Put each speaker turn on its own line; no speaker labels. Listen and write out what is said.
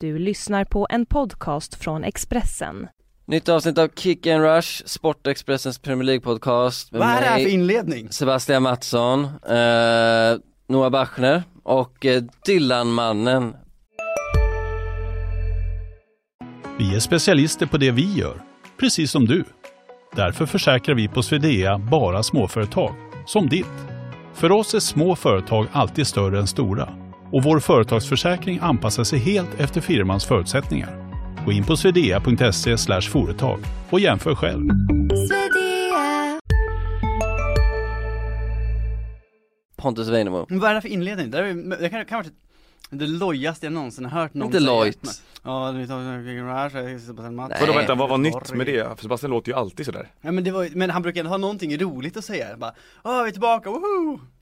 Du lyssnar på en podcast från Expressen.
Nytt avsnitt av Kick and Rush, Sportexpressens Premier League-podcast med
Vad är det här för
mig,
inledning?
Sebastian Mattsson, eh, Noah Bachner och eh, Dylan-mannen.
Vi är specialister på det vi gör, precis som du. Därför försäkrar vi på Swedea bara småföretag, som ditt. För oss är små företag alltid större än stora och vår företagsförsäkring anpassar sig helt efter firmans förutsättningar. Gå in på swedea.se slash företag och jämför själv.
Pontus Weinemo.
Men Vad är det här för inledning? Det, här är, det kan, kan vara det lojaste jag någonsin har hört någon
Inte
säga.
lojt.
Ja, det är Sebastian Mattsson.
Vadå,
Vadå
Nej.
vänta, vad var nytt med det? För Sebastian låter ju alltid sådär
Ja, men, det var, ju- men han brukar ändå ha någonting roligt att säga, bara Åh, vi är tillbaka, woho!